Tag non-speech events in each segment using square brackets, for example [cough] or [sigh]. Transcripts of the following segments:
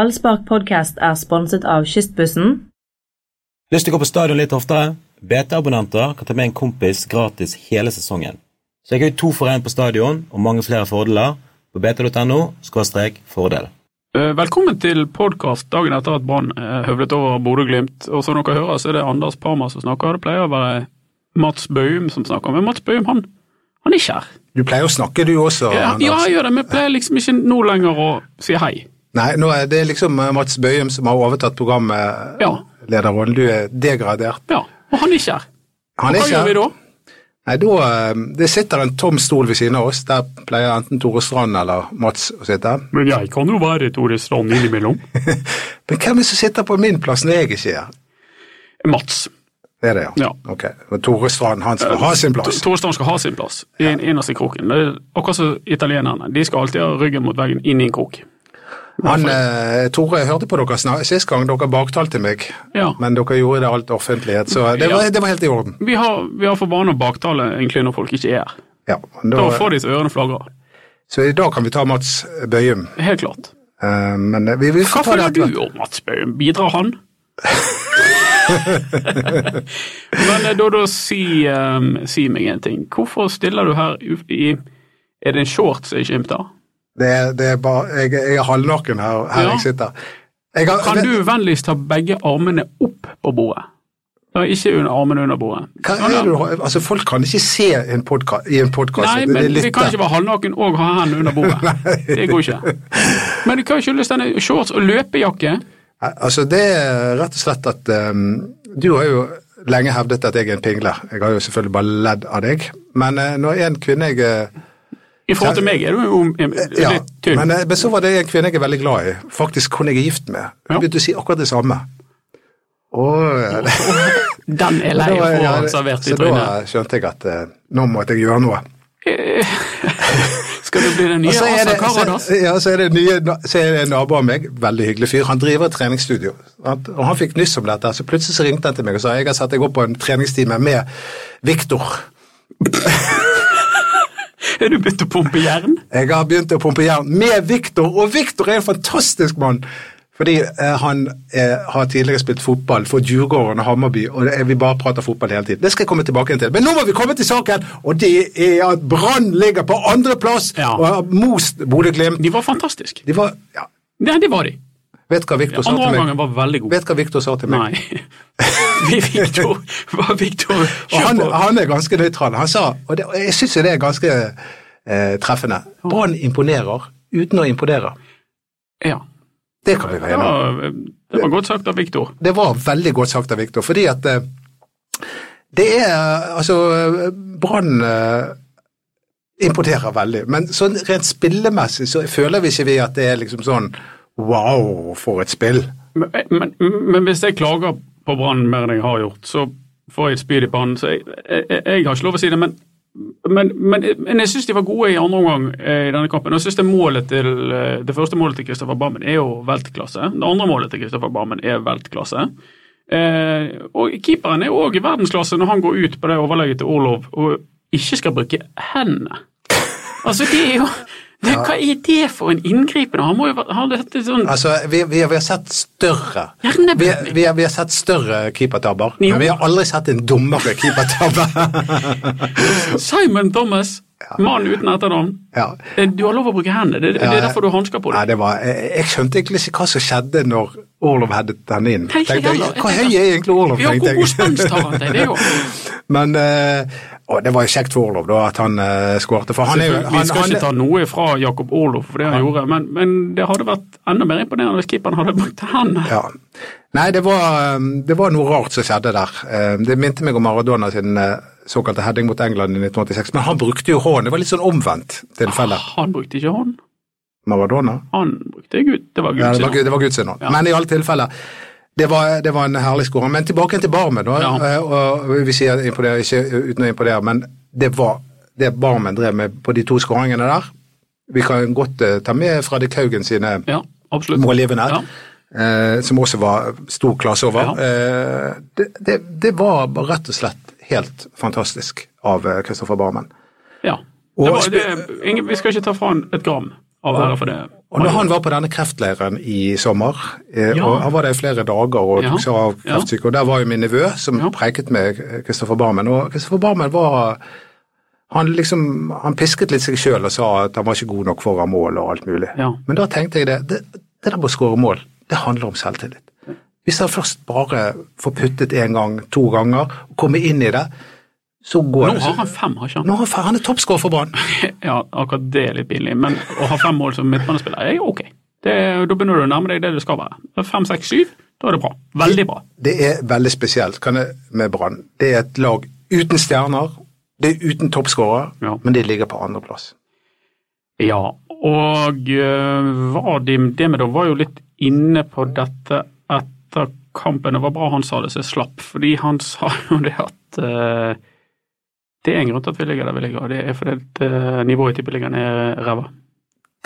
Ballspark podcast er sponset av Kystbussen. Lyst til å gå på stadion litt oftere? BT-abonnenter kan ta med en kompis gratis hele sesongen. Så jeg har jo to for én på stadion, og mange flere fordeler på bt.no fordel. Eh, Velkommen til podkast dagen etter at Brann eh, høvlet over Bodø-Glimt. Og som dere hører, så er det Anders Parma som snakker. Det pleier å være Mats Baum som snakker, men Mats Baum, han, han er ikke her. Du pleier å snakke, du også. Ja, Anders. ja, jeg gjør det, men jeg pleier liksom ikke nå lenger å si hei. Nei, nå er det liksom eh, Mats Bøhum som har overtatt programmet. Ja. Lederrollen. Du er degradert. Ja, og han er ikke her. Han Hva er ikke gjør vi da? Nei, da eh, det sitter en tom stol ved siden av oss. Der pleier enten Tore Strand eller Mats å sitte. Men jeg kan jo være Tore Strand innimellom. Men hvem er det som sitter på min plass når jeg ikke er her? [laughs] Mats. Det er det, ja. Ja. Eh, Ok, og Tore Strand, han skal ha sin plass. Tore Strand skal ha sin plass i en innerst i kroken. Det er akkurat som italienerne. De skal alltid ha ryggen mot veggen inn i en krok. Han, eh, Tore, jeg hørte på dere snak sist gang dere baktalte meg, Ja. men dere gjorde det alt offentlighet, så det var, Ja. det var helt i orden. Vi har, vi har for vane å baktale egentlig når folk ikke er her. Ja, da, Da får de så ørene flagrer. så i dag kan vi ta Mats Bøhum. Helt klart. Eh, men eh, vi, vi Hva får ta det føler etter hvert. du om Mats Baum? Bidrar han? [laughs] Men eh, da, da si, eh, si meg en ting. Hvorfor stiller du her u- i Er det en shorts jeg skimter? Det, er- det er bare, jeg, jeg er halvnaken her, her Ja. jeg sitter. Jeg har, Kan du vennligst ta begge armene opp på bordet? Ja, ikke under armene under bordet. Sånn, Hva er det du Altså, har- altså, folk kan ikke se en podka, i en podkast. Nei, men vi kan ikke være halvnaken og ha hendene under [laughs] bordet. Det går ikke. Men hva skyldes denne shorts og løpejakke? Altså, det er rett og slett at eh, du har jo lenge hevdet at jeg er en pingle. Jeg har jo selvfølgelig bare ledd av deg. Men eh, når en kvinne jeg eh, I forhold til meg er du jo eh, Ja, litt tynn. men, eh, men så var det en kvinne jeg er veldig glad i, faktisk hun jeg er gift med. Hun Ja. begynte å si akkurat det samme. Og, Den er lei Da å var få jeg- servert i Så [laughs] trynet. da skjønte jeg at eh, nå måtte jeg gjøre noe. Skal det bli den nye Og så er Asa det, Karadas? så, ja, så er det, nye, så er det en nabo av meg, veldig hyggelig fyr, han driver et treningsstudio. Han, og han fikk nyss om dette, så plutselig så ringte han til meg og sa jeg har satt deg opp på en treningstime med Viktor. Er du begynt å pumpe jern? Jeg har begynt å pumpe jern med Viktor, og Viktor er en fantastisk mann! Fordi eh, han eh, har tidligere spilt fotball for Djurgården og Hammarby, og det er, vi bare prater fotball hele tiden. Det skal jeg komme tilbake til. Men nå må vi komme til saken, og det er at Brann ligger på andreplass Ja. og har most Bodø-Glimt. De var fantastiske. De var Ja, Nei, det var de. vet hva Viktor sa Andre til omgangen meg? var veldig god. Vet hva Viktor sa til meg? Nei. [laughs] Vi Victor, var Victor Og han, Kjør på. han er ganske nøytral. Han sa, og, det, og jeg syns jo det er ganske eh, treffende, Brann imponerer uten å imponere. Ja. Det kan vi være Det enige om. var, det var godt sagt av Victor. Det var veldig godt sagt av Viktor, fordi at eh, det er eh, Altså, eh, Brann eh, importerer veldig, men sånn rent spillemessig så føler vi ikke vi at det er liksom sånn Wow, for et spill. Men, eh, men, men hvis jeg klager på Brann mer enn jeg har gjort, så får jeg et spyd i pannen. Så jeg, jeg, jeg, jeg har ikke lov å si det, men, men, men, men jeg syns de var gode i andre omgang eh, i denne kampen. Og Jeg synes det, målet til, eh, det første målet til Kristoffer Barmen er jo veltklasse. Det andre målet til Kristoffer Barmen er veltklasse. Eh, og keeperen er jo òg i verdensklasse når han går ut på det overlegget til Orlov og ikke skal bruke hendene. Altså, det er jo det, Hva er det for en inngripen? Han må jo ha dette sånn Altså, vi, vi, vi har sett større Hjerneblødning. vi, vi, har, vi har sett større keepertabber, Jo. men vi har aldri sett en dummere [laughs] keepertabbe. Simon Thomas, mann uten etternavn. ja. Eh, Du har lov å bruke hendene, det, det Ja, er ja. derfor du har hansker på Nei, deg. det var, Eh, jeg, jeg skjønte egentlig ikke hva som skjedde når Orlov hadde den inn. Nei, ikke Tenkte jeg, heller. Hvor høy er egentlig Orlov? Ja, tenkte hvor jeg. god spenst har han til? [laughs] Det er jo Men eh, og det var jo kjekt for Orlov da, at han uh, skårte. For han er jo Vi han, skal ikke han, ta noe fra Jakob Orlof for det han gjorde, men, men det hadde vært enda mer imponerende hvis keeperen hadde brukt hendene. ja. Nei, det var, um, det var noe rart som skjedde der. Eh, det minte meg om Maradona sin eh, såkalte heading mot England i 1986, men han brukte jo hånden. Det var litt sånn omvendt tilfelle. Ah, Han brukte ikke hånd, Maradona? han brukte Gud. Det var Ja, Gud det sin var, Gud- hånd. det var Guds synd. Ja. Men i alle tilfeller, det var, det var en herlig skåring. Men tilbake til Barmen. Da, Ja. Eh, og vi sier imponere, ikke uten å imponere, men det var det Barmen drev med på de to skåringene der. Vi kan godt eh, ta med Fredrik Haugen sine Ja, absolutt. målgivende, Ja. eh, som også var stor klasse over. Eh, det, det, det var bare rett og slett helt fantastisk av eh, Kristoffer Barmen. Ja. Og Det var, spe- det, ingen, vi skal ikke ta fra han et gram Av ære for det. Og når han var på denne kreftleiren i sommer, eh, Ja. og han var der i flere dager og Ja. tok seg av Ja. kreftsyke, og der var jo min nevø som Ja. preiket med Kristoffer Barmen, og Kristoffer Barmen var han liksom, han pisket litt seg sjøl og sa at han var ikke god nok foran mål og alt mulig. Ja. Men da tenkte jeg det, det, det der med å skåre mål, det handler om selvtillit. Hvis han først bare får puttet én gang, to ganger, og kommer inn i det, så går Nå det. har han fem, har ikke han? Nå har han, han er toppskårer for Brann. Ja, akkurat det er litt pinlig, men å ha fem mål som midtbanespiller er jo ok. Det, da begynner du å nærme deg det du skal være. Fem, seks, syv, da er det bra. Veldig bra. Det er veldig spesielt kan jeg, med Brann. Det er et lag uten stjerner, det er uten toppskårere, Ja. men de ligger på andreplass. Ja, og eh, Vadim Demidov var jo litt inne på dette etter kampen. Det var bra han sa det, så jeg slapp, fordi han [laughs] sa jo det at eh, det er en grunn til at vi ligger der vi ligger, og det er fordi at, eh, nivået i tippeligaen er ræva.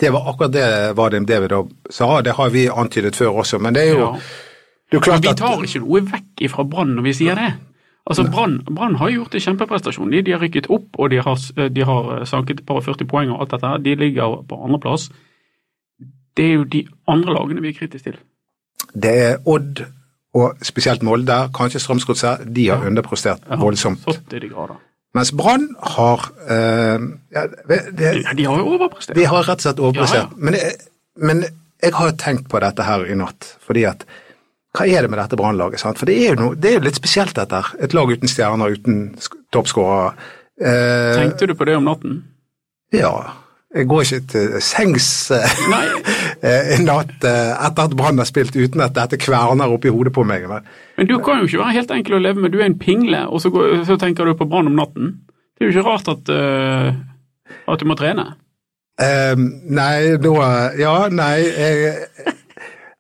Det var akkurat det Vadim Davidov sa, det har vi antydet før også, men det er jo Ja. det er jo klart Vi at tar ikke noe vekk ifra Brann når vi sier det. Altså, Brann Brann har gjort en kjempeprestasjon. De, de har rykket opp, og de har, s- eh, de har sanket et par og 40 poeng og alt dette. her. De ligger på andreplass. Det er jo de andre lagene vi er kritiske til. det er Odd og spesielt Molde, kanskje Strømsgodset, de har underprestert voldsomt. 70 grader. Mens Brann har eh, ja, det, Ja, de har jo overprestert. Vi har rett og slett overprestert. Ja, Men, jeg- men jeg har tenkt på dette her i natt. fordi at Hva er det med dette Brann-laget? sant? For det er, jo noe, det er jo litt spesielt, dette her. Et lag uten stjerner, uten sk- toppskårere. Eh, Tenkte du på det om natten? ja. Jeg går ikke til sengs eh, Nei, eh, [laughs] en natt eh, etter at Brann har spilt uten at dette kverner oppi hodet på meg. Men men du kan jo ikke være helt enkel å leve med. Du er en pingle, og så, går, så tenker du på Brann om natten. Det er jo ikke rart at, eh, at du må trene. Ehm, nei, nå Ja, nei jeg,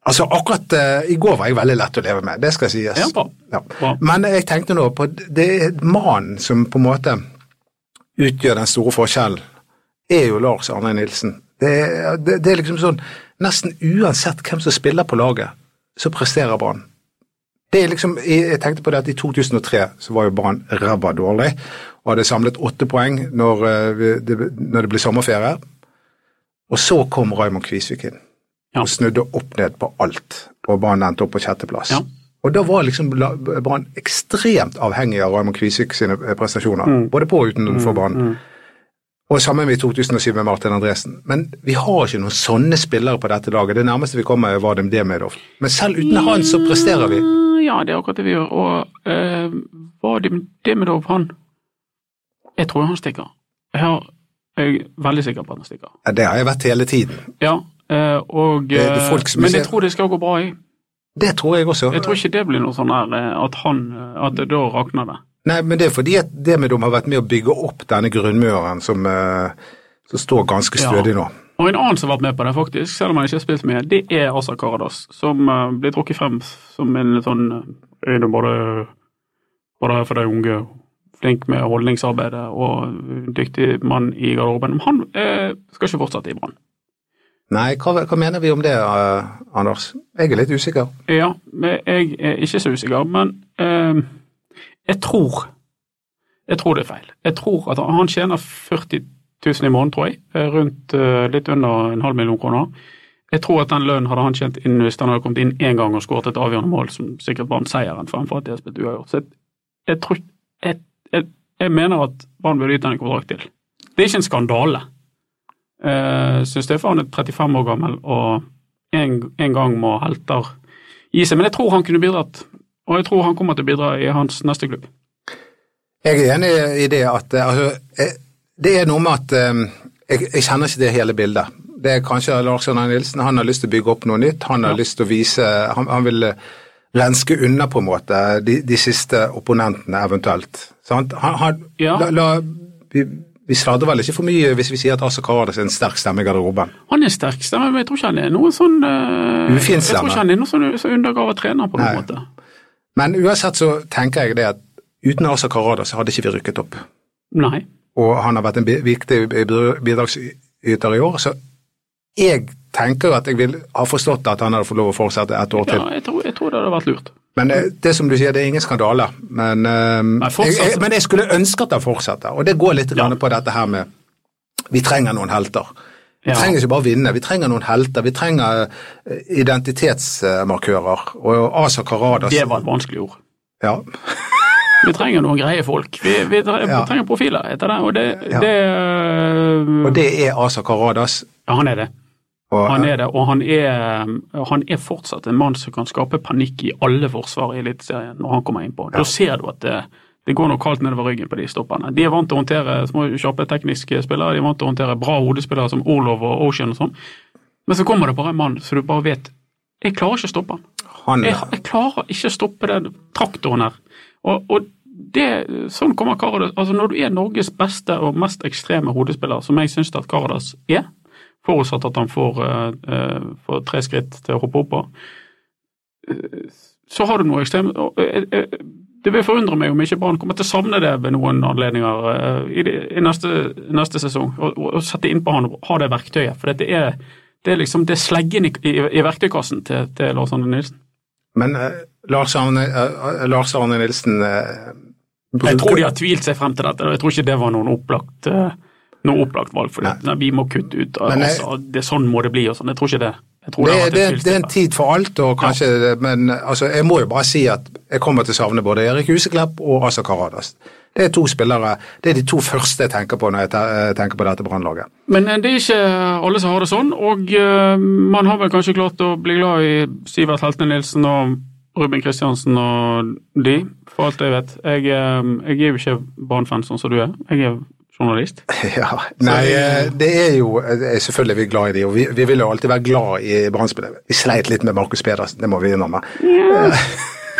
Altså, akkurat eh, i går var jeg veldig lett å leve med, det skal sies. Ja, bra. Ja. Bra. Men jeg tenkte nå på det er mannen som på en måte utgjør den store forskjellen, er jo Lars Arne Nilsen. Det, er- det, det er liksom sånn Nesten uansett hvem som spiller på laget, så presterer Brann. Det er liksom, jeg jeg tenkte på det at I 2003 så var jo Brann ræva dårlig og hadde samlet åtte poeng når, eh, vi- det, når det ble sommerferie. Og så kom Raymond Kvisvik inn Ja. og snudde opp ned på alt, og Brann endte opp på sjetteplass. Ja. Og da var liksom la- Brann ekstremt avhengig av Raymond Kvisvik sine eh, prestasjoner, Mm. både på og utenfor banen. Og sammen med i 2007 med Martin Andresen. Men vi har ikke noen sånne spillere på dette laget. Det nærmeste vi kommer, er Vadim Demidov. Men selv uten han, så presterer vi. Ja, det er akkurat det vi gjør. Og eh, Vadim Demidov, han Jeg tror han stikker. Jeg, har, jeg er veldig sikker på at han stikker. Ja, Det har jeg vært hele tiden. Ja, eh, og, Det er det eh, folk som men ser- jeg tror det skal gå bra. Jeg. Det tror jeg også. jeg tror ikke det blir noe sånn her eh, at han eh, At det da rakner det. Nei, men det er fordi at Demidov har vært med å bygge opp denne grunnmuren som, eh, som står ganske Ja. stødig nå. Og en annen som har vært med på det, faktisk, selv om han ikke har spilt så mye, det er Asa Karadas, som eh, blir trukket frem som en litt sånn eh, Er det bare, bare for de unge, flink med holdningsarbeidet og dyktig mann i garderoben. Men Han eh, skal ikke fortsette i Brann. Nei, hva, hva mener vi om det, eh, Anders? Jeg er litt usikker. Ja, men jeg er ikke så usikker, men eh, jeg tror Jeg tror det er feil. Jeg tror at han tjener 40 000 i måneden, tror jeg. eh, Rundt eh, litt under en halv million kroner. Jeg tror at den lønnen hadde han tjent inn hvis han hadde kommet inn én gang og skåret et avgjørende mål, som sikkert var en seieren fremfor at de har spilt uavgjort. Så jeg, jeg tror jeg, jeg, jeg mener at Brann burde gitt han en kontrakt til. Det er ikke en skandale. Uh, Syns jeg, for han er 35 år gammel og en, en gang må helter gi seg. Men jeg tror han kunne bidratt, og jeg tror han kommer til å bidra i hans neste klubb. Jeg er enig i det at eh, altså, eh, Det er noe med at eh, jeg, jeg kjenner ikke det hele bildet. Det er kanskje Lars Arne Nilsen. Han har lyst til å bygge opp noe nytt. Han har Ja. lyst til å vise Han, han vil eh, renske unna, på en måte, de, de siste opponentene, eventuelt. Sant? Han, han, Ja. la, la, vi, vi sladrer vel ikke for mye hvis vi sier at Asa Karadas er en sterk stemme i garderoben. Han er sterk stemme, men jeg tror ikke han er noe sånn eh, Ufin Jeg tror stemme. ikke han er noe sånn så undergrava trener, på noen Nei. måte. Men uansett så tenker jeg det at uten Asa Karadas hadde ikke vi rykket opp. Nei. og han har vært en bi- viktig bi- bidragsyter i år, så jeg tenker at jeg vil ha forstått at han hadde fått lov å fortsette et år Ja, til. jeg tror, jeg tror det hadde vært lurt. Men eh, det som du sier, det er ingen skandale. Men, eh, jeg, fortsatt- jeg, men jeg skulle ønske at han fortsetter, og det går litt grann på dette her med vi trenger noen helter. Vi Ja. trenger ikke bare vinne, vi trenger noen helter. Vi trenger eh, identitetsmarkører. Og Asa Karadas Det var et vanskelig ord. ja. Vi trenger noen greie folk. Vi, vi tre- Ja. trenger profiler etter det, og det, Ja. det øh, Og det er Asa Karadas. Ja, han er det. Og, Han er det, og han er, eh, han er fortsatt en mann som kan skape panikk i alle forsvar i Eliteserien når han kommer innpå. Da ser du at det, det går noe kaldt nedover ryggen på de stopperne. De er vant til å håndtere små, kjappe tekniske spillere, de er vant til å håndtere bra hodespillere som Orlov og Ocean og sånn, men så kommer det bare en mann så du bare vet Jeg klarer ikke å stoppe han. han, Jeg, jeg klarer ikke å stoppe den traktoren her. Og, og det, sånn kommer Karadas Altså Når du er Norges beste og mest ekstreme hodespiller, som jeg syns at Karadas er, forutsatt at han får, eh, eh, får tre skritt til å hoppe opp på, eh, så har du noe ekstremt og, eh, eh, Det vil forundre meg om ikke Brann kommer til å savne det ved noen anledninger eh, i, det- i neste, neste sesong, og, og, og sette inn på han og ha det verktøyet. For det er, det er liksom det er sleggen i, i, i verktøykassen til, til Lars Arne Nilsen. Men eh, Lars Arne, eh, Lars Arne Nilsen eh, Jeg tror de bruker- har tvilt seg frem til dette, og jeg tror ikke det var noen opplagt, eh, noe opplagt valg. For det. Nei, vi må kutte ut, Men jeg- altså, det, sånn må det bli og sånn. Jeg tror ikke det. Jeg tror det, har er- vært det, et er- det er en tvilstilfelle. tid for alt, og kanskje, men eh, altså, jeg må jo bare si at jeg kommer til å savne både Erik Huseklepp og Asa Karadas. Det er to spillere, det er de to første jeg tenker på når jeg te- eh, tenker på dette brannlaget. Men eh, det er ikke alle som har det sånn, og eh, man har vel kanskje klart å bli glad i Sivert Heltene Nilsen og Ruben Kristiansen og de, for alt jeg vet. Jeg, eh, jeg er jo ikke Brann-fan sånn som du er, jeg er journalist. [laughs] Ja, nei, eh, det er jo eh, Selvfølgelig er vi glad i de, og vi, vi vil jo alltid være glad i brannspillere. Vi sleit litt med Markus Pedersen, det må vi innrømme. [laughs] Eh,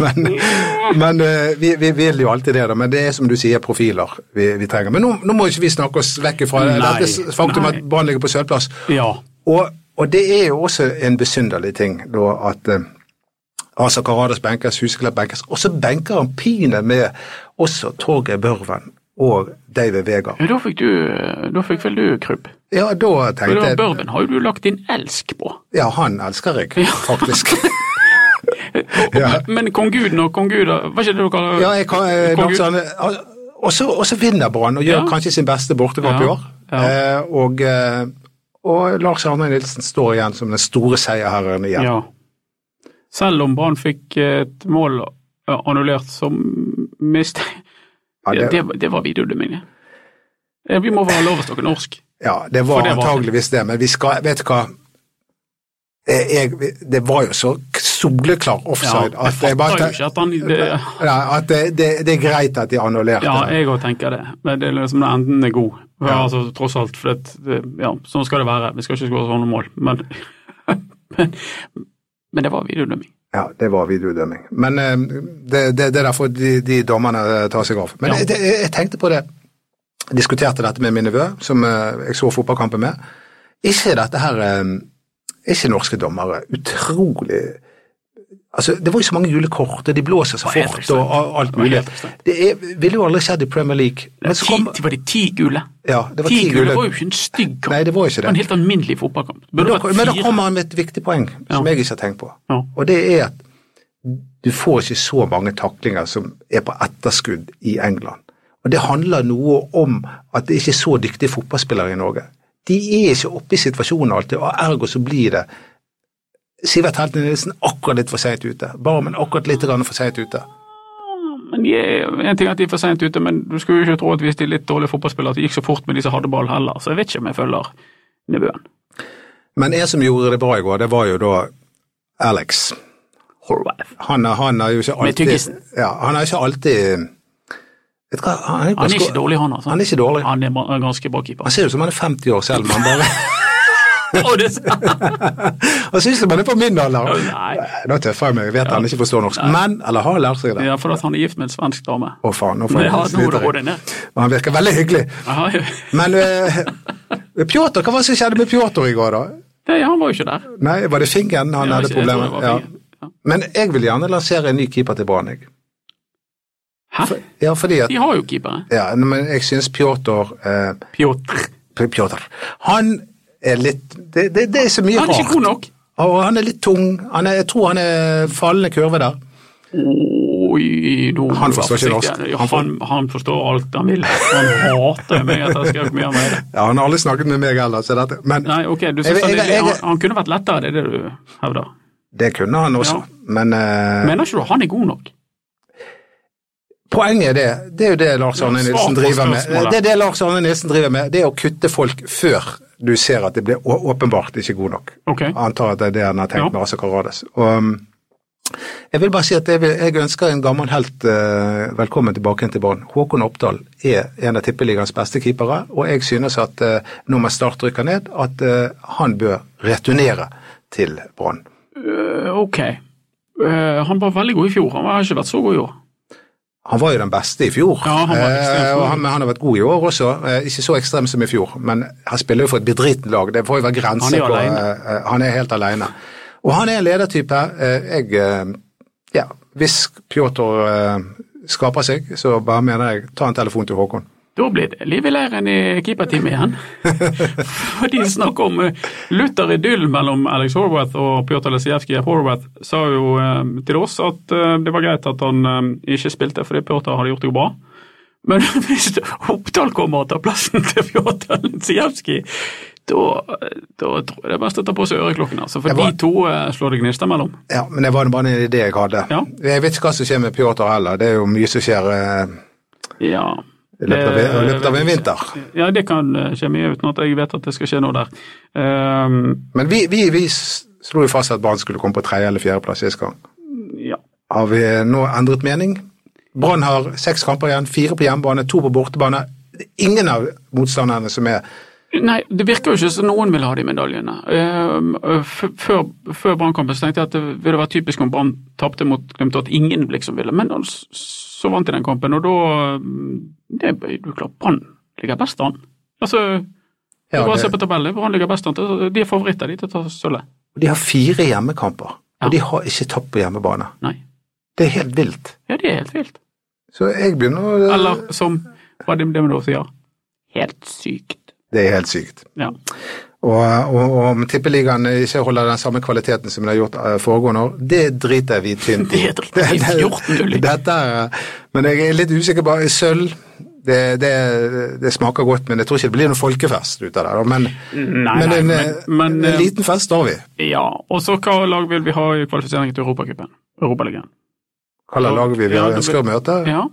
men men eh, vi, vi vil jo alltid det, da. Men det er som du sier, profiler vi, vi trenger. Men nå, nå må ikke vi snakke oss vekk fra det. Nei, dette s- faktum nei. at Brann ligger på sølvplass. Ja. Og, og det er jo også en besynderlig ting da at eh, Asa Karadas benkes, Huseklepp benkes, og så benker han pine med også Torgeir Børven og David Vegard. Ja, Da fikk, du, eh, da fikk vel du krybb. Ja, da For tenkte da, jeg Børven har jo du lagt din elsk på. Ja, han elsker jeg, [laughs] faktisk. Ja. Men- Men kong Guden og kong Gud, var ikke det du kaller ja, jeg kan, eh, Kong Lars Gud. Arne- al- og så- og så vinner Brann og gjør Ja. kanskje sin beste bortekamp Ja, i år. ja. Eh, og, eh, og Lars Arne Nilsen står igjen som den store seierherren igjen. Ja. Selv om Brann fikk et mål eh, annullert, så miste Ja, det, det, det, det var videodømmingen. Eh, Vi må være lov å snakke norsk. ja, det For var det var- antageligvis det, men vi skal Vet du hva? Eh, Jeg, det var jo så soleklar Ja, offside jeg at jeg bare fatter jo tenk- ikke at han det, Nei, at det, det, det er greit at de annullerte Ja, den. jeg òg tenker det. Men det er liksom når enden er god. Ja. Altså, tross alt, for det, det, ja, sånn skal det være. Vi skal ikke skåre sånne mål. Men, [laughs] men, men det var videodømming. Ja, det var videodømming. Men eh, det, det, det er derfor de, de dommerne eh, tar seg av. Men Ja. jeg- det, jeg tenkte på det, diskuterte dette med min nevø, som eh, jeg så fotballkampen med. Ikke dette her eh, Ikke norske dommere. Utrolig Altså, Det var jo så mange gule kort, og de blåser Det så var helt fort, ekstremt. og a- alt Det var mulig. helt ekstremt. Det er, ville jo aldri skjedd i Premier League. Men så Ti, kom, var det ti gule? ja, det var ti gule. gule. var jo ikke en stygg kamp. Nei, det var ikke Det var en det. helt alminnelig fotballkamp. Det Men Burde da, vært men da fire. kommer han med et viktig poeng som Ja. jeg ikke har tenkt på. Ja. Og det er at du får ikke så mange taklinger som er på etterskudd i England. Og det handler noe om at det ikke er så dyktige fotballspillere i Norge. De er ikke oppe i situasjonen alltid, og ergo så blir det Sivert Helten Nilsen akkurat litt for seint ute. Barmen akkurat litt grann for seint ute. Men de er, en ting er at de er for sent ute, men du skulle jo ikke tro at hvis de er litt dårlige fotballspillere, at de gikk så fort med de som hadde ball heller. Så jeg vet ikke om jeg følger nevøen. Men en som gjorde det bra i går, det var jo da Alex. Horvath. Han, han har jo ikke Med alltid tyggisen. ja, Han har ikke alltid Vet du hva, han er, Han er ikke dårlig, han altså. Han er ikke dårlig. Han er ba- ganske bra keeper. Han ser ut som han er 50 år selv, men han bare Å, det er [laughs] sant. Han syns det, men det er på min alder. Å, nei. Nå tøffer jeg meg, jeg vet han ikke forstår norsk. Men, eller har lært seg det. Ja, for at han er gift med en svensk dame. Å faen, nå får Men jeg ja, nå sliter går jeg. det ned. Men han virker veldig hyggelig. Aha, ja. Men uh, [laughs] Pjotr, hva var det som skjedde med Pjotr i går, da? Nei, han var jo ikke der. Nei, var det fingeren han Ja, hadde jeg tror det var problemer med? fingeren. Ja. Ja. Men jeg vil gjerne lansere en ny keeper til Brann, jeg. Hæ? Ja, fordi at De har jo keepere. ja, Men jeg syns Pjotr eh, Pjotr. Pjotr Han er litt det, det, det er så mye Han er ikke god rart. nok. Og han er litt tung. Han er, jeg tror han er fallende kurve der. Å, Oi, nå må Han du være forstår forsiktig. ikke norsk. Ja, Han for- Han, han forstår alt han vil. Han hater meg at jeg skrev mye om det. Ja, Han har aldri snakket med meg heller, så dette Men Nei, ok, du Jeg- synes han, jeg- er- jeg- han, han kunne vært lettere, det er det du hevder. det kunne han også. Ja. Men eh, Mener ikke du han er god nok? Poenget er det, det er jo det Lars Arne Ja, svar Nilsen på driver med. spørsmålet. Det er det Lars Arne Nilsen driver med, det er å kutte folk før du ser at det blir å- åpenbart ikke god nok. Ok. Jeg antar at det er det han har Ja. tenkt med Asa Karades. Og, um, jeg vil bare si at jeg, vil, jeg ønsker en gammel helt eh, velkommen tilbake igjen til Brann. Håkon Oppdal er en av tippeligaens beste keepere, og jeg synes at eh, nå med Start rykker ned, at eh, han bør returnere til Brann. Eh, ok. Eh, han var veldig god i fjor, han har ikke vært så god i år. Han var jo den beste i fjor, Ja, han var ekstremt eh, god. og han, men han har vært god i år også. Eh, ikke så ekstrem som i fjor, men han spiller jo for et bedritent lag. Det får jo Han være er grenser jo på alene. eh, eh, Han er helt alene. Og han er en ledertype. Eh, jeg, eh, ja, hvis Pjotr eh, skaper seg, så bare mener jeg ta en telefon til Håkon. Da blir det liv i leiren i keeperteamet [laughs] igjen. For de snakker om eh, lutter idyll mellom Alex Horwath og Pjotr Lesijevskij. Horwath sa jo eh, til oss at eh, det var greit at han eh, ikke spilte fordi Pjotr hadde gjort det jo bra. Men [laughs] hvis Oppdal kommer og tar plassen til Pjotr Lesijevskij, da, eh, da tror jeg det er best å ta på seg øreklokken, altså. For Jeg var- de to eh, slår det gnister mellom. Ja, men det var bare en idé jeg hadde. Ja. Jeg vet ikke hva som skjer med Pjotr heller, det er jo mye som skjer eh, Ja. Eh, i løpet av, i løpet av en vinter. Ja, det kan eh, skje mye uten at jeg vet at det skal skje noe der. Ehm, Men vi, vi, vi slo jo fast at Brann skulle komme på tredje eller fjerdeplass sist gang. Ja. har vi nå endret mening. Brann har seks kamper igjen, fire på hjemmebane, to på bortebane. Det er Ingen av motstanderne som er Nei, det virker jo ikke som noen vil ha de medaljene. Eh, f- Før, før Brannkampen så tenkte jeg at det ville være typisk om Brann tapte mot Glimt, og at ingen liksom ville. Men han s- så vant de den kampen, og da eh, Det er jo klart Brann ligger best an. Altså, Ja, bare det- se på tabellen. Brann ligger best an. til- De er favoritter de til å ta sølvet. De har fire hjemmekamper, Ja. og de har ikke tapt på hjemmebane. Nei. Det er helt vilt. Ja, det er helt vilt. Så jeg begynner å Eller som Vadim Demidov sier, helt sykt. Det er helt sykt. Ja. Og, og, og om tippeligaen ikke holder den samme kvaliteten som den har gjort eh, foregående år, det driter vi tynt i. [laughs] Det driter vi Det- det- 14-0 i. Dette er Men jeg er litt usikker på Sølv, det, det, det smaker godt, men jeg tror ikke det blir noen folkefest ut av det. da. Men, Nei, men, nei, en, men- eh, men, eh, en liten fest har vi. ja. Og så hva lag vil vi ha i kvalifiseringen til Europacupen? Europaligaen. Hva slags lag vi vil Ja, det ønsker å møte? Ja.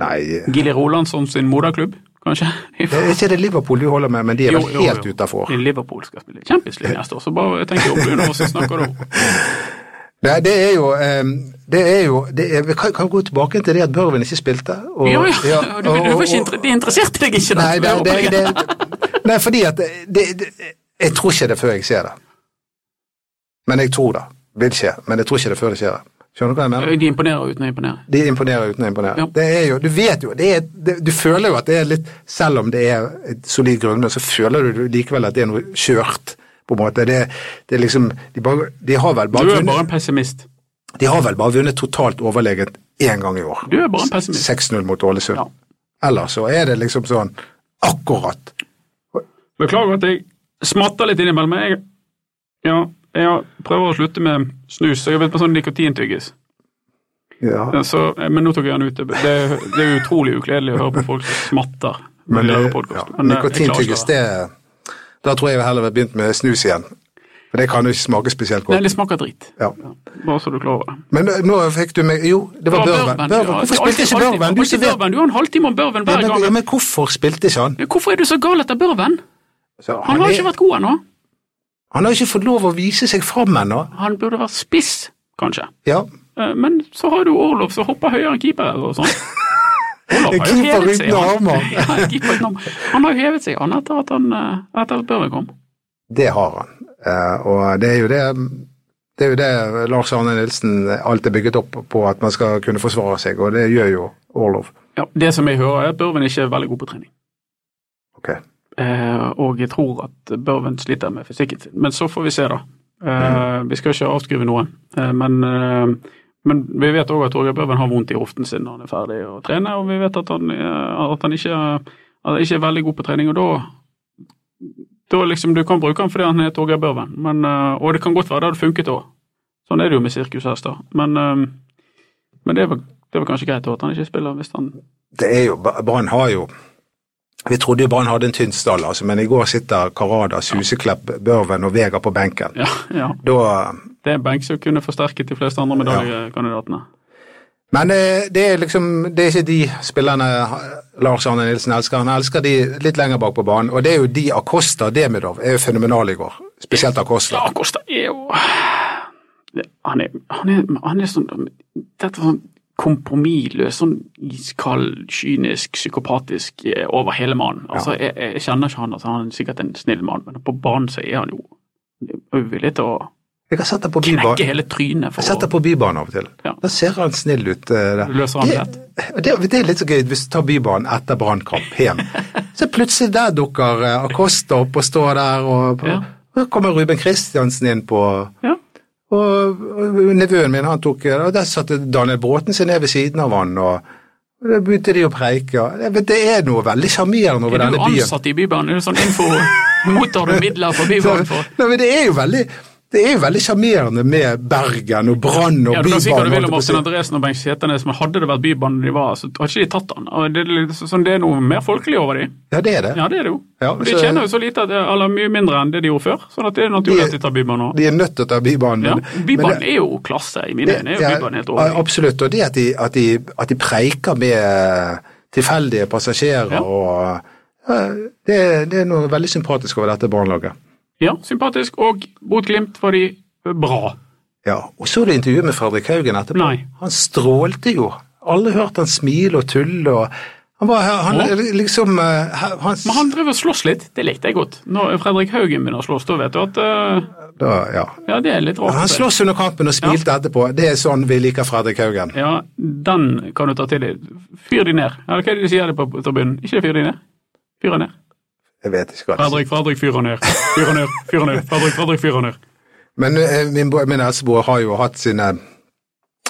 Nei, Gilly Rolandsson sin moderklubb, kanskje? det er ikke det Liverpool du holder med, men de er Jo, vel jo, jo. helt utafor. I Liverpool skal spille Champions League neste år, så bare tenk deg om du nå, så snakker du. Nei, det er jo, ehm, det er jo det er, Vi kan, kan gå tilbake til det at Børven ikke spilte. Og, Ja, ja, [laughs] ja, du, du, og- får ikke og- inter- de interesserte deg ikke. Nei, det, dette det, med Europaligaen. det, nei fordi at det, det, Jeg tror ikke det før jeg ser det. Men jeg tror det vil skje, men jeg tror ikke det før det skjer. Skjønner du hva jeg mener? De imponerer uten å imponere. De imponerer uten å imponere. Ja. Det er jo, du vet jo, det er, det, du føler jo at det er litt Selv om det er et solid grunnlag, så føler du likevel at det er noe kjørt, på en måte. Det, det er liksom De, bare, de, har, vel Du bare er bare vunnet, en pessimist. de har vel bare vunnet totalt overlegent én gang i år. Du er bare en pessimist. 6-0 mot Ålesund. Ja. Ellers så er det liksom sånn akkurat. Beklager at jeg smatter litt innimellom. Jeg, ja, jeg prøver å slutte med snus, så jeg vet på sånn nikotintyggis. Ja. Så, eh, men nå tok jeg den ut. Det, det er utrolig ukledelig å høre på folk som smatter. når Men de hører det, podcast. ja, Men, eh, jeg klarer ikke nikotintyggis, det. det Da tror jeg jeg heller ville begynt med snus igjen. For det kan jo ikke smake spesielt Nei, godt. det smaker drit. Ja. Bare så du er klar over det. Men eh, nå fikk du meg Jo, det var Børven. Børven. Hvorfor spilte ikke Børven? Du Du, som vet børven. du har en halvtime om Børven Ja, hver men, ja, gang. men hvorfor spilte ikke han? Hvorfor er du så gal etter Børven? Så Han har er- ikke vært god ennå. han har ikke fått lov å vise seg fram ennå. Han burde vært spiss, kanskje. Ja. Eh, Men så har du Orlov som hopper høyere enn keeper og [laughs] sånn. Orlov En har jo keeper hevet seg, uten han. armer. [laughs] Ja, en keeper uten armer. Han har jo hevet seg, han, etter at, han, eh, etter at Børven kom. Det har han. Eh, og det er jo det det er jo det Lars Arne Nilsen alt er bygget opp på, at man skal kunne forsvare seg, og det gjør jo Orlov. Ja, det som jeg hører, er at Børven ikke er veldig god på trening. Ok. Eh, og jeg tror at Børven sliter med fysikken sin. Men så får vi se, da. Eh, Vi skal ikke avskrive noe. Eh, men, eh, men vi vet òg at Torgeir Børven har vondt i hoften sin når han er ferdig å trene, og vi vet at han, eh, at han ikke, at han ikke er veldig god på trening. og da da liksom, Du kan bruke han fordi han er Torgeir Børven, men, eh, og det kan godt være det hadde funket òg. Sånn er det jo med sirkushester. Men eh, Men det var, det var kanskje greit da, at han ikke spiller hvis han [laughs] Det er jo, Brann har jo Vi trodde jo Brann hadde en tynn stall, altså, men i går sitter Karada, Suseklepp, Børven og Vegard på benken. Ja, ja. Da Det er en benk som kunne forsterket de fleste andre medaljekandidatene. Men eh, det er liksom, det er ikke de spillerne eh, Lars Arne Nilsen elsker. Han elsker de litt lenger bak på banen, og det er jo de Acosta og Demidov er jo fenomenale i går. Spesielt Acosta. Ja, Kosta er jo Det- Han er, han er, han er sånn Dette er sånn kompromissløs, sånn iskald, kynisk, psykopatisk eh, over hele mannen. Altså, jeg, jeg kjenner ikke han, altså, han er sikkert en snill mann, men på banen så er han jo han er jo villig til å Jeg har sett ham på bybanen. knekke hele trynet Jeg setter for å på Bybanen av og til. Ja. Da ser han snill ut. eh, der. Løser han det, det, det er litt så gøy hvis du tar Bybanen etter brannkamp hjem. så plutselig der dukker eh, Acosta opp og står der, og Ja. så kommer Ruben Kristiansen inn på ja. og, og nevøen min, han tok eh, Og der satte Daniel Bråten seg ned ved siden av han, og, og da begynte de å preike. og- jeg vet, Det er noe veldig sjarmerende over Er denne du byen. ansatt i Bybanen? Er det sånn info? [laughs] Mottar du midler fra Bybanen for? Nei, men det er jo veldig det er jo veldig sjarmerende med Bergen og Brann og Ja, du kan si hva du Bybanen. vil om holdt jeg Martin på å si. Andresen og Bengt Seternes, men hadde det vært Bybanen de var, så hadde ikke de tatt han. Og Det, er litt sånn, det er noe mer folkelig over de. Ja, det er det. Ja, det er det jo. Ja, de så- tjener jo så lite, at, eller mye mindre enn det de gjorde før, sånn at det er naturlig De- at de tar Bybanen òg. De er nødt til å ta Bybanen. Ja. men- men Bybanen det- er jo klasse, i mine øyne. er jo ja, Bybanen helt over. Absolutt. Og det at de, at de, at de preiker med eh, tilfeldige passasjerer Ja. og ja, det, det er noe veldig sympatisk over dette barnelaget. Ja, sympatisk. Og Bodø-Glimt var de eh, bra. Ja, og så det intervjuet med Fredrik Haugen etterpå. Nei. Han strålte jo. Alle hørte han smile og tulle og Han var han, Ja. liksom eh, han, Men han drev og sloss litt, det likte jeg godt. Når Fredrik Haugen begynner å slåss, da vet du at eh, da, ja. Ja, det er litt rart. han slåss under kampen og smilte etterpå. Det er sånn vi liker Fredrik Haugen. Ja, den kan du ta til deg. Fyr de ned. Eller hva er det de sier det på på tribunen? Ikke fyr de ned? Fyr han ned. Jeg vet ikke hva det er. Fredrik, Fredrik, fyr [laughs] han ned. Fyr han ned, fyr han ned. Fredrik, Fredrik, fyr han ned. Men eh, min, bro- min eldstebror har jo hatt sine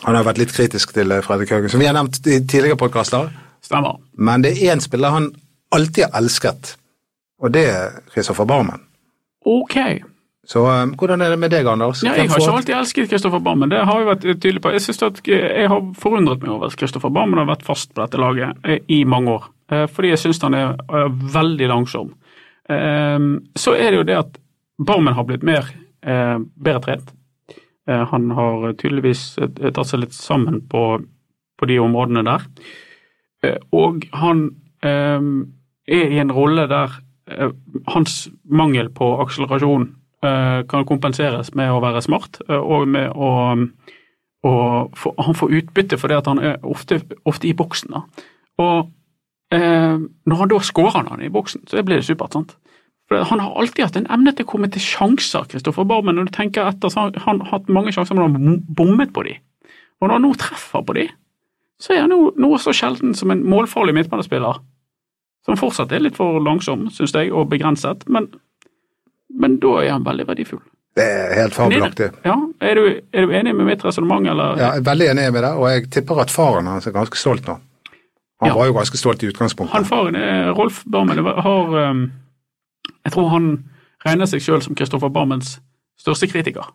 Han har vært litt kritisk til eh, Fredrik Haugen, som vi har nevnt i tidligere podkaster. Stemmer. Men det er én spiller han alltid har elsket, og det er Christoffer Barmen. Ok. Så eh, hvordan er det med deg, Anders? Ja, Hvem jeg har får- ikke alltid elsket Kristoffer Barm, men det har jeg vært tydelig på. Jeg synes at jeg har forundret meg over at Kristoffer Barmen har vært fast på dette laget eh, i mange år. eh, Fordi jeg synes han er eh, veldig langsom. Eh, Så er det jo det at Barmen har blitt mer, eh, bedre trent. Eh, Han har tydeligvis eh, tatt seg litt sammen på, på de områdene der. Eh, Og han eh, er i en rolle der eh, hans mangel på akselerasjon eh, kan kompenseres med å være smart, eh, og med å og få- han får utbytte fordi at han er ofte, ofte i boksen. da. Og eh, når han da skårer han han i boksen, så blir det supert. sant? For Han har alltid hatt en emne til å komme til sjanser, Kristoffer Barmen. Når du tenker etter, så har han hatt mange sjanser, men han har bommet på de. Og når han nå treffer på de, så er han jo noe så sjelden som en målfarlig midtbanespiller. Som fortsatt er litt for langsom, syns jeg, og begrenset, men, men da er han veldig verdifull. Det er helt Men er fabelaktig. du- Ja, er du, er du enig med mitt resonnement, eller? Ja, jeg er veldig enig med deg, og jeg tipper at faren hans er ganske stolt nå. Han Ja. var jo ganske stolt i utgangspunktet. Han faren, eh, Rolf Barmen, det var- har eh, Jeg tror han regner seg sjøl som Kristoffer Barmens største kritiker.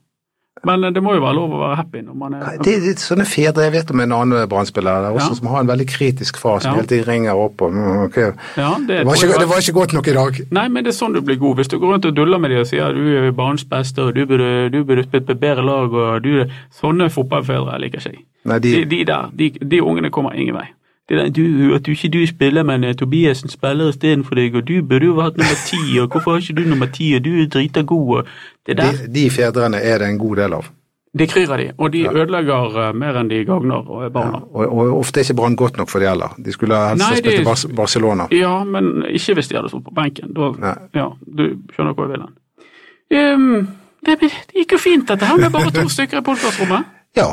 Men eh, det må jo være lov å være happy når man Nei, er Det er litt sånne fedre, jeg vet om en annen eh, brannspiller der også, Ja. som har en veldig kritisk far som Ja. hele tiden ringer opp og mm, ok. Ja, det det, tror var jeg ikke, var- det var ikke godt nok i dag. Nei, men det er sånn du blir god. Hvis du går rundt og duller med de og sier du er banens beste, og du burde, du burde spilt på et bedre lag, og du Sånne fotballfedre liker ikke jeg. Nei, de, De, de der, de, de ungene kommer ingen vei. Det der, du, at du ikke du spiller, men eh, Tobiassen spiller istedenfor deg, og du burde jo vært nummer ti, og hvorfor har ikke du nummer ti, og du er drita god, og Det der, de, de fedrene er det en god del av. det kryr av de, og de ødelegger eh, mer enn de gagner og er barna. Og, og ofte er ikke Brann godt nok for de heller. De skulle helst Nei, ha de- spilt i Bar Barcelona. Ja, men ikke hvis de hadde stått på benken. Da, Nei. ja, du skjønner hvor jeg vil hen. Ehm, det, det gikk jo fint, dette her, med bare to [laughs] stykker i podkastrommet. Ja,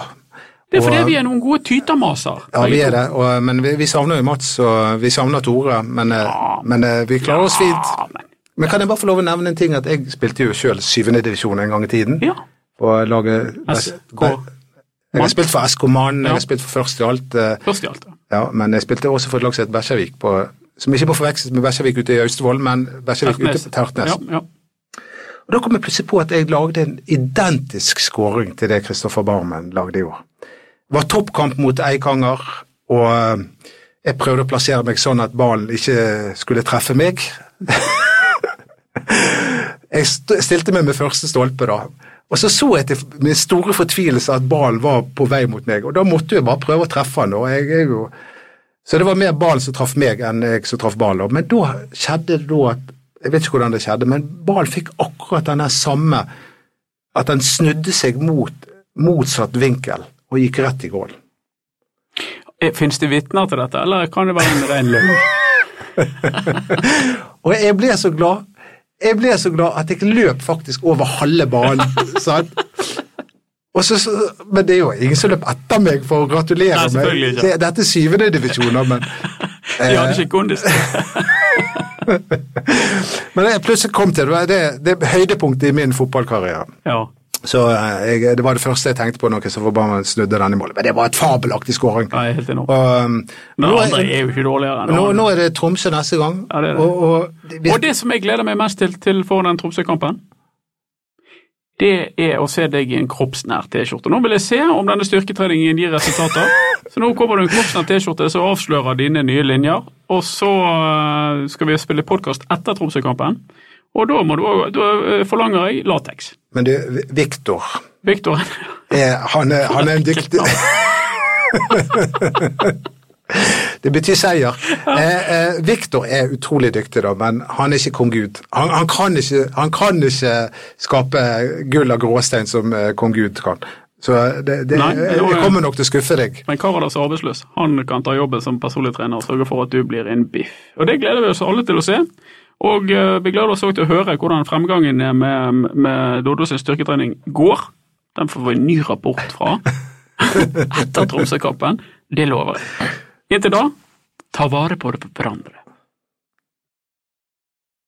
Det er fordi Og- eh, vi er noen gode tytermaser. ja vi er det, og, men vi, vi savner jo Mats og vi savner Tore, men, eh, men eh, vi klarer oss fint. Ja, men, Men kan jeg bare få lov å nevne en ting, at jeg spilte jo sjøl syvende divisjon en gang i tiden. ja. på laget SK Jeg har Mann. spilt for SK Mann, jeg Ja. har spilt for Først i alt, eh, Først i alt. da. ja, men jeg spilte også for et lag som het Bekkjarvik, på- som ikke må forveksles med Bekkjarvik ute i Austevoll, men Bekkjarvik ute på Tertnes. Ja, ja. Og Da kom jeg plutselig på at jeg lagde en identisk scoring til det Kristoffer Barmen lagde i år. var toppkamp mot Eikanger, og eh, jeg prøvde å plassere meg sånn at ballen ikke skulle treffe meg. [laughs] jeg st stilte meg med første stolpe da, og så så jeg til min store fortvilelse at ballen var på vei mot meg, og da måtte jeg bare prøve å treffe den. og jeg er jo... Så det var mer ballen som traff meg enn jeg som traff ballen. Men da skjedde det da at Jeg vet ikke hvordan det skjedde, men ballen fikk akkurat den der samme At den snudde seg mot motsatt vinkel og gikk rett i gålen. Fins Eh, det vitner til dette, eller kan det være en ren [laughs] løgn? Og jeg ble så glad. Jeg ble så glad at jeg løp faktisk over halve banen. [laughs] sant? Og så, så, men det er jo ingen som løp etter meg for å gratulere Nei, selvfølgelig meg. ikke. Det, dette er syvende divisjoner, men De hadde Eh. ikke kondis. [laughs] Men jeg plutselig kom til det. var Det, det er høydepunktet i min fotballkarriere. Ja. Så eh, jeg, Det var det første jeg tenkte på når Kristoffer Barmen snudde denne målet. Men det var et fabelaktig skåring. Ja, jeg er helt enorm. Og, um, Men nå, det andre er, er jo ikke dårligere enn det nå, andre. nå er det Tromsø neste gang. Ja, det er det. Og, og, det- vi, Og det som jeg gleder meg mest til, til foran den Tromsø-kampen, det er å se deg i en kroppsnær T-skjorte. Nå vil jeg se om denne styrketreningen gir resultater. Så nå kommer du i en kroppsnær T-skjorte som avslører dine nye linjer. Og så eh, skal vi spille podkast etter Tromsø-kampen. Og da, må du, også- da eh, forlanger jeg lateks. men du, Viktor Viktor, [laughs] eh, han, er- han er en dyktig [laughs] Det betyr seier. Eh, eh, Viktor er utrolig dyktig, da, men han er ikke kong Gud. Han, han, kan ikke, han kan ikke skape gull av gråstein som eh, kong Gud kan. Så det, det, Nei, jeg, det var- jeg kommer nok til å skuffe deg. men Karadas er arbeidsløs. Han kan ta jobben som personlig trener og sørge for at du blir en biff. Og Det gleder vi oss alle til å se. Og eh, vi gleder oss også til å høre hvordan fremgangen er med, med Dodo sin styrketrening går. Den får vi en ny rapport fra etter Tromsø-kampen. Det lover jeg. Inntil da, ta vare på det på hverandre.